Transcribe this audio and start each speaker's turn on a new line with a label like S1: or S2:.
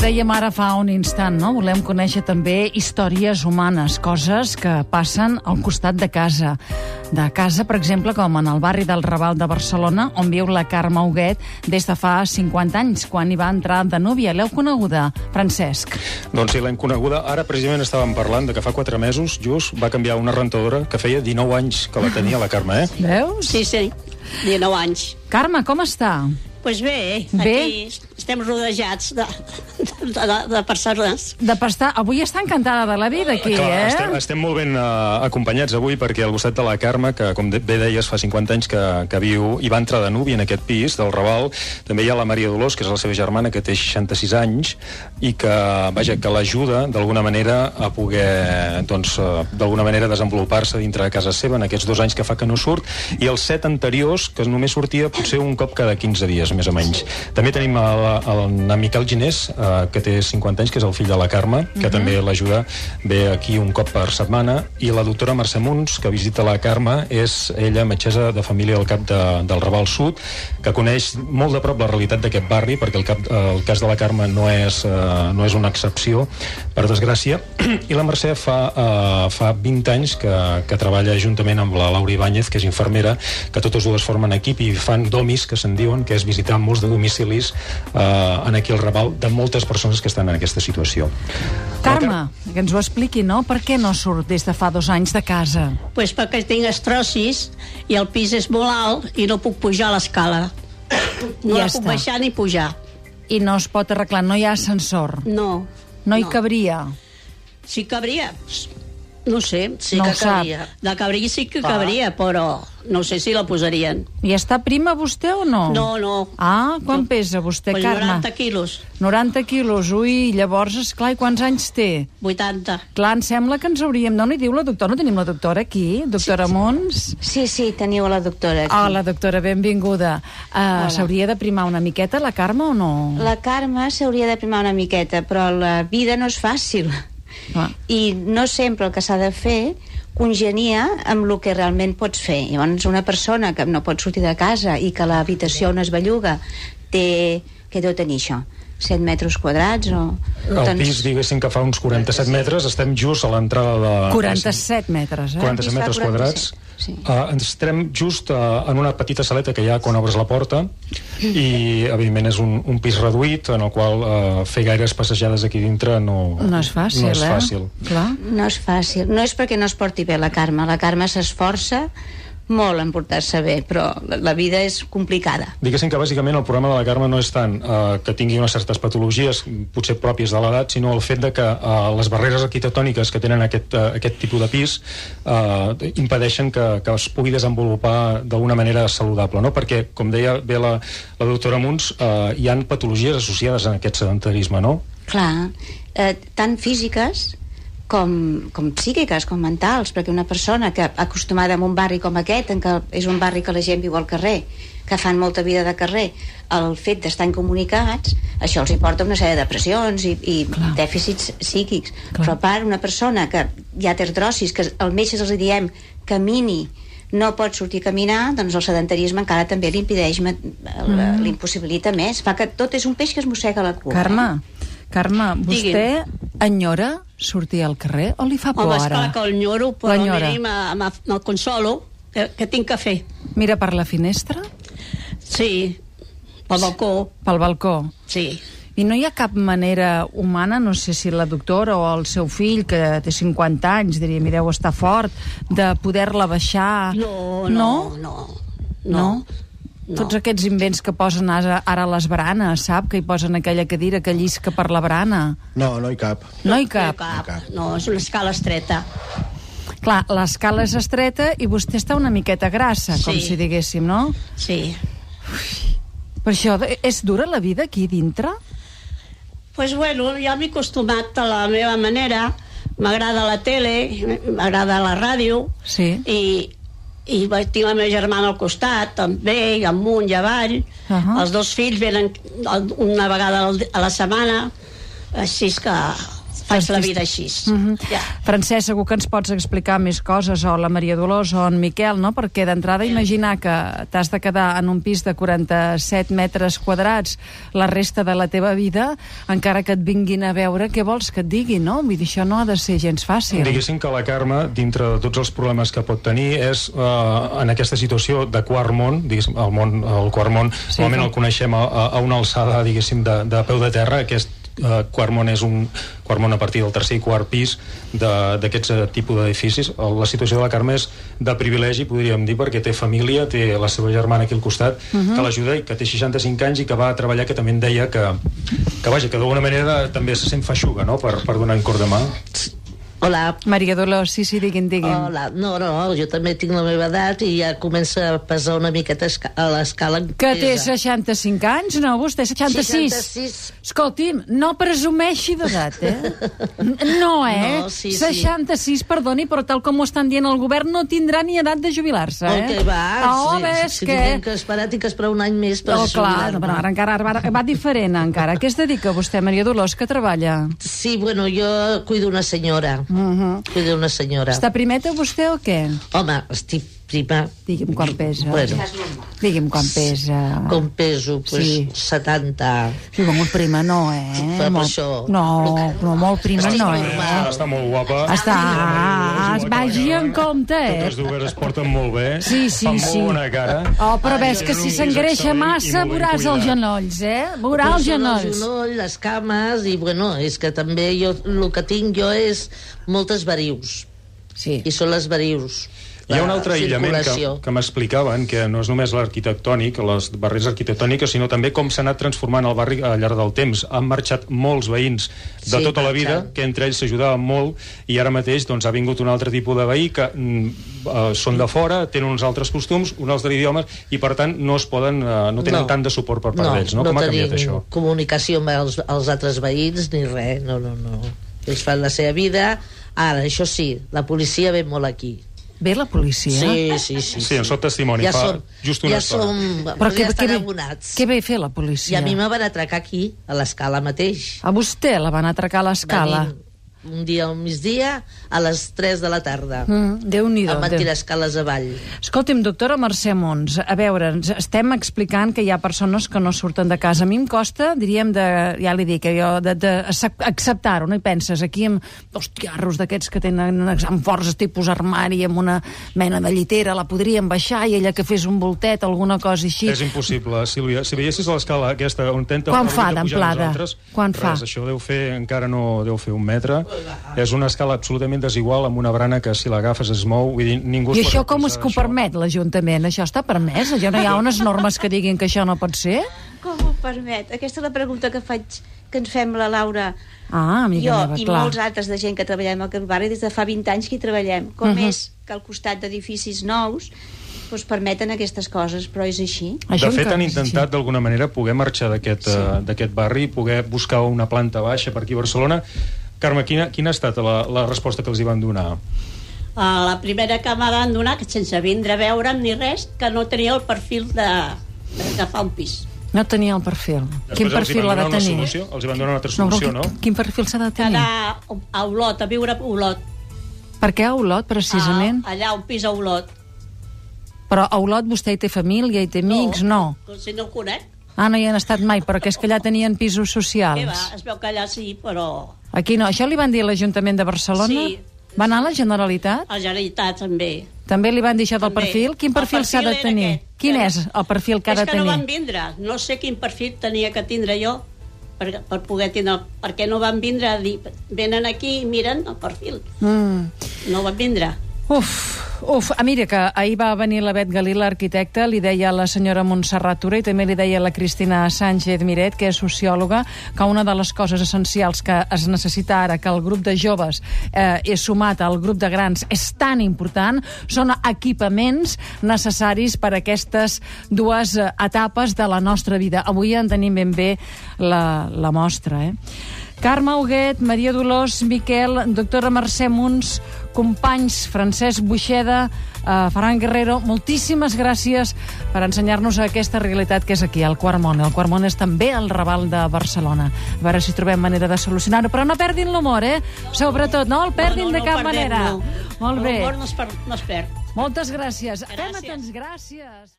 S1: dèiem ara fa un instant, no? volem conèixer també històries humanes, coses que passen al costat de casa. De casa, per exemple, com en el barri del Raval de Barcelona, on viu la Carme Huguet des de fa 50 anys, quan hi va entrar de núvia. L'heu coneguda, Francesc?
S2: Doncs sí, l'hem coneguda. Ara precisament estàvem parlant de que fa 4 mesos just va canviar una rentadora que feia 19 anys que la tenia la Carme, eh?
S1: Veus?
S3: Sí, sí, 19 anys.
S1: Carme, com està?
S3: Pues bé,
S1: Bé.
S3: aquí estem rodejats de, de, de, de persones.
S1: De pastar... Avui està encantada de la vida aquí, eh?
S2: estem, estem molt ben uh, acompanyats avui perquè al costat de la Carme, que com de- bé deies fa 50 anys que, que viu i va entrar de nuvi en aquest pis del Raval, també hi ha la Maria Dolors, que és la seva germana, que té 66 anys i que, vaja, que l'ajuda d'alguna manera a poder doncs, eh, d'alguna manera desenvolupar-se dintre de casa seva en aquests dos anys que fa que no surt i els set anteriors, que només sortia potser un cop cada 15 dies, més o menys. També tenim a la- el, el Miquel Ginés, eh, que té 50 anys, que és el fill de la Carme, que també l'ajuda ve aquí un cop per setmana, i la doctora Mercè Munts, que visita la Carme, és ella metgessa de família del cap de, del Raval Sud, que coneix molt de prop la realitat d'aquest barri, perquè el, cap, el cas de la Carme no és, eh, no és una excepció, per desgràcia, i la Mercè fa, eh, fa 20 anys que, que treballa juntament amb la Laura Ibáñez, que és infermera, que totes dues formen equip i fan domis, que se'n diuen, que és visitar molts de domicilis eh, en aquí al Raval de moltes persones que estan en aquesta situació.
S1: Carme, que ens ho expliqui, no? Per què no surt des de fa dos anys de casa?
S3: Pues perquè tinc estrossis i el pis és molt alt i no puc pujar a l'escala. No
S1: Ja
S3: ja la puc
S1: està.
S3: baixar ni pujar.
S1: I no es pot arreglar, no hi ha ascensor.
S3: No.
S1: No hi cabria.
S3: Sí cabria. No Ah. sé, sí
S1: No ho
S3: que
S1: sap.
S3: cabria. De cabria sí que cabria, però no sé si la posarien.
S1: I està prima vostè o no?
S3: No, no.
S1: Ah, quan pesa vostè,
S3: pues
S1: Carme?
S3: 90 quilos,
S1: 90 quilos, ui, llavors, esclar, i quants anys té?
S3: 80.
S1: Clar, em sembla que ens hauríem... No, no hi diu la doctora, no tenim la doctora aquí? Doctora sí, Mons?
S4: Sí, sí, teniu a la doctora aquí.
S1: Hola, doctora, benvinguda. Uh, S'hauria de primar una miqueta la Carme o no?
S4: La Carme s'hauria de primar una miqueta, però la vida no és fàcil.
S1: Ah.
S4: I no sempre el que s'ha de fer congenia amb el que realment pots fer. Llavors, una persona que no pot sortir de casa i que l'habitació on es belluga té... Què deu tenir això? 100 metres quadrats o...
S2: El
S1: Doncs
S2: pis, diguéssim, que fa uns 47 metres, estem just a l'entrada de...
S1: 47 metres, eh?
S2: 47
S4: El pis fa
S2: metres
S4: 47,
S2: quadrats.
S4: sí.
S2: Uh, ens estarem just uh, en una petita saleta que hi ha quan obres la porta i, evidentment, és un, un pis reduït en el qual uh, fer gaires passejades aquí dintre no,
S1: No és fàcil,
S2: no és
S1: eh?
S2: fàcil.
S1: Clar.
S4: No és fàcil. No és perquè no es porti bé la Carme. La Carme s'esforça molt en portar-se bé, però la- la vida és complicada.
S2: Diguéssim que bàsicament el problema de la Carme no és tant eh, que tingui unes certes patologies potser pròpies de l'edat, sinó el fet de que eh, les barreres arquitectòniques que tenen aquest, eh, aquest tipus de pis eh, impedeixen que, que es pugui desenvolupar d'alguna manera saludable, no? perquè, com deia bé la, la doctora Munts, eh, hi han patologies associades a aquest sedentarisme, no?
S4: Clar, eh, tant físiques com, com psíquiques, com mentals, perquè una persona que acostumada a un barri com aquest, en què és un barri que la gent viu al carrer, que fan molta vida de carrer, el fet d'estar incomunicats, això els hi porta una sèrie de depressions i, i dèficits psíquics.
S1: Clar.
S4: Però a part, una persona que ja té artrosis, que al metge els hi diem camini, no pot sortir a caminar, doncs el sedentarisme encara també l'impedeix, ma- la- l'impossibilita més. Fa que tot és un peix que es mossega la cua.
S1: Mm. Carme, Carme,
S3: Digui'm.
S1: vostè enyora sortir al carrer o li fa por
S3: Home,
S1: ara?
S3: esclar que el nyoro, però
S1: L'enyora.
S3: mínim eh, me- me'l consolo, que, que tinc que fer.
S1: Mira per la finestra,
S3: Sí, pel balcó,
S1: pel balcó.
S3: sí.
S1: I no hi ha cap manera humana, no sé si la doctora o el seu fill, que té 50 anys, diria, mireu, està fort, de poder-la baixar...
S3: No, no, no.
S1: No?
S3: No?
S1: no? Tots aquests invents que posen ara ara a les baranes, sap? Que hi posen aquella cadira que llisca per la barana.
S5: No, no hi cap.
S1: No hi
S3: cap.
S1: cap.
S3: cap.
S5: cap.
S3: No, és una escala estreta.
S1: Clar, l'escala és estreta i vostè està una miqueta grassa, com
S3: Sí.
S1: si diguéssim, no?
S3: Sí.
S1: Per això, de- és dura la vida aquí dintre?
S3: Pues bueno, ja m'he acostumat a la meva manera. M'agrada la tele, m'agrada la ràdio.
S1: Sí.
S3: I, i vaig- tinc la meva germana al costat, també, i amunt i avall. Uh
S1: Ahà.
S3: -huh. Els dos fills venen el- una vegada al- a la setmana. Així és que faig la vida així.
S1: Mm -hmm.
S3: ja.
S1: Francesc, segur que ens pots explicar més coses, o la Maria Dolors o en Miquel, no? Perquè d'entrada imaginar que t'has de quedar en un pis de 47 metres quadrats la resta de la teva vida, encara que et vinguin a veure què vols que et digui, no? Vull dir, això no ha de ser gens fàcil.
S2: Diguéssim que la Carme, dintre de tots els problemes que pot tenir, és eh, en aquesta situació de quart món, diguéssim, el, món, el quart món, sí, normalment
S1: com-
S2: el coneixem a, a- a una alçada, diguéssim, de, de peu de terra, aquest eh, quart món és un quart món a partir del tercer i quart pis de- d'aquests eh, tipus d'edificis. El- La situació de la Carme és de privilegi, podríem dir, perquè té família, té la seva germana aquí al costat, que l'ajuda i que té 65 anys i que va a treballar, que també en deia que, que vaja, que d'alguna manera també se sent feixuga, no?, per, per donar un cor de mà.
S5: Hola,
S1: Maria Dolors, sí, sí, diguin, diguin.
S5: hola. No, no, jo també tinc la meva edat i ja comença a pesar una miqueta esca- a l'escala
S1: Que té
S5: entesa.
S1: 65 anys, no, vostè 66.
S5: 66.
S1: Escolti'm, no presumeixi d'edat, eh? N- No, eh?
S5: No, sí, sí.
S1: 66, perdoni, però tal com ho estan dient el govern, no tindrà ni edat de jubilar-se,
S5: Oh,
S1: eh?
S5: que va,
S1: Oh,
S5: si,
S1: ves
S5: si
S1: que...
S5: tinc que esperar, tinc que esperar un any més per
S1: Oh, clar,
S5: jubilar-me.
S1: però ara encara ara va, va diferent, encara. A Què es dedica vostè, Maria Dolors, que treballa?
S5: Sí, bueno, jo cuido una senyora.
S1: Mhm.
S5: Cuido una senyora.
S1: Està primeta vostè o què?
S5: Home, estic prima,
S1: Digui'm quan pesa.
S5: Bueno.
S1: Digui'm quan pesa.
S5: com peso, pues,
S1: Sí.
S5: 70.
S1: Sí, molt prima no, eh?
S5: Per
S1: molt...
S5: això.
S1: No, no, molt prima no, eh?
S5: normal.
S2: Està molt guapa.
S1: Està, Ah, es vagi en compte, eh?
S2: Totes dues es porten molt bé.
S1: Sí, sí,
S2: fan
S1: sí.
S2: molt bona cara.
S1: Oh, però ves que si
S2: genolls
S1: s'engreixa
S2: excel·lent
S1: massa
S2: i molt ben
S1: veuràs els
S2: cuidat.
S1: genolls, eh? Veurà els
S5: Són els
S1: genolls.
S5: genolls, les cames, i bueno, és que també jo, el que tinc jo és moltes varius,
S1: Sí.
S5: i són les varius.
S2: Hi ha un altre
S5: la
S2: aïllament que,
S5: circulació.
S2: que m'explicaven, que no és només l'arquitectònic, les barreres arquitectòniques, sinó també com s'ha anat transformant el barri al llarg del temps. Han marxat molts veïns de
S5: Sí,
S2: tota la vida,
S5: marxant.
S2: que entre ells s'ajudaven molt, i ara mateix doncs, ha vingut un altre tipus de veí que mm, eh, són de fora, tenen uns altres costums, uns altres idiomes, i per tant no es poden, eh, no tenen tant de suport per part d'ells. No, Com ha canviat
S5: tenim
S2: això?
S5: comunicació amb els, els altres veïns ni res, no, no, no. Ells fan la seva vida. Ara, això sí, la policia ve molt aquí.
S1: Ve la policia?
S5: Sí, sí, sí.
S2: Sí, en sóc testimoni, fa just una
S5: ja
S2: estona.
S5: Som,
S1: eh? Però què,
S5: ja
S1: què,
S5: estan
S1: ve,
S5: abonats.
S1: què ve a fer la
S5: I
S1: policia?
S5: a mi me van atracar aquí, a l'escala mateix.
S1: A vostè la van atracar a l'escala.
S5: Venint Un dia al migdia, a les 3 de la tarda.
S1: Mm, Déu-n'hi-do.
S5: Em van
S1: Déu.
S5: tirar escales avall.
S1: Escolti'm, doctora Mercè Mons, a veure, ens estem explicant que hi ha persones que no surten de casa. A mi em costa, diríem, de, ja li dic, allò de, de acep- acceptar-ho, no? I penses, aquí amb dos tiarros d'aquests que tenen amb forces tipus armari, amb una mena de llitera, la podríem baixar i ella que fes un voltet, alguna cosa així.
S2: És impossible, Sílvia. Si veiessis a l'escala aquesta on tenta...
S1: Quan
S2: una
S1: fa
S2: mica pujar
S1: d'amplada?
S2: nosaltres,
S1: Quan
S2: res,
S1: fa?
S2: Això deu fer, encara no deu fer un metre. És una escala absolutament desigual amb una brana que si l'agafes es mou, vull dir, ningú...
S1: I
S2: es pot
S1: això com
S2: recolzar
S1: es que ho
S2: d'això.
S1: permet l'Ajuntament? Això està permès? Allò no hi ha unes normes que diguin que això no pot ser?
S3: Com ho permet? Aquesta és la pregunta que faig que ens fem la Laura.
S1: Ah, amiga
S3: jo
S1: meva,
S3: i
S1: clar.
S3: molts altres de gent que treballem al barri des de fa 20 anys que hi treballem. Com és que al costat d'edificis nous doncs permeten aquestes coses, però és així.
S2: De fet,
S1: encara
S2: han
S1: és així.
S2: intentat d'alguna manera poder marxar d'aquest sí. uh, barri, poder buscar una planta baixa per aquí a Barcelona. Carme, quina, quina ha estat la, la resposta que els hi van donar?
S3: A la primera que m'ha van donar, que sense vindre a veure'm ni res, que no tenia el perfil de d'agafar un pis.
S1: No tenia el perfil. Quin
S2: Després els hi
S1: perfil
S2: van
S1: ha de
S2: donar una
S1: tenir?
S2: Solució, els hi van donar una altra
S1: No, però
S2: solució, no?
S1: quin, quin perfil s'ha de tenir?
S3: Quedar a Olot, a viure a Olot.
S1: Per què a Olot, precisament?
S3: A, allà, un pis a Olot.
S1: Però a Olot vostè hi té família, hi té amics? No.
S3: Si no ho conec,
S1: Ah, no hi han estat mai, però que és que allà tenien pisos
S3: què va?
S1: socials.
S3: Es veu que allà sí, però
S1: Aquí no. Això li van dir a l'Ajuntament de Barcelona?
S3: Sí.
S1: Va anar a la Generalitat?
S3: a Generalitat també.
S1: També li van dir això del
S3: També.
S1: perfil? Quin
S3: El
S1: perfil s'ha de
S3: perfil era
S1: tenir?
S3: aquest.
S1: Quin
S3: Era-
S1: és el perfil que ha
S3: és
S1: de
S3: que no van
S1: tenir?
S3: vindre. No sé quin perfil tenia que tindre jo per, per poder tindre... el- Perquè no van vindre a dir... Venen aquí i miren el perfil.
S1: Mm.
S3: No van vindre.
S1: Uf, uf, ah, mira que ahir va venir la Bet Galí, l'arquitecta, li deia a la senyora Montserrat Tura i també li deia a la Cristina Sánchez Miret, que és sociòloga, que una de les coses essencials que es necessita ara que el grup de joves eh, és sumat al grup de grans és tan important, són equipaments necessaris per a aquestes dues eh, etapes de la nostra vida. Avui en tenim ben bé la, la mostra, eh? Carme Huguet, Maria Dolors, Miquel, doctora Mercè Muns, Companys, Francesc Buixeda, eh, Ferran Guerrero, moltíssimes gràcies per ensenyar-nos aquesta realitat que és aquí, al Quart Món. El Quart Món és també el Raval de Barcelona. A veure si trobem manera de solucionar-ho, però no perdin l'humor, eh? Sobretot, no el perdin
S6: no, no,
S1: de cap
S6: perdem,
S1: manera.
S6: No.
S1: Molt bé.
S6: L'humor no es, per, no es perd.
S1: Moltes gràcies.
S6: Gràcies.
S1: Fem-te-ns gràcies.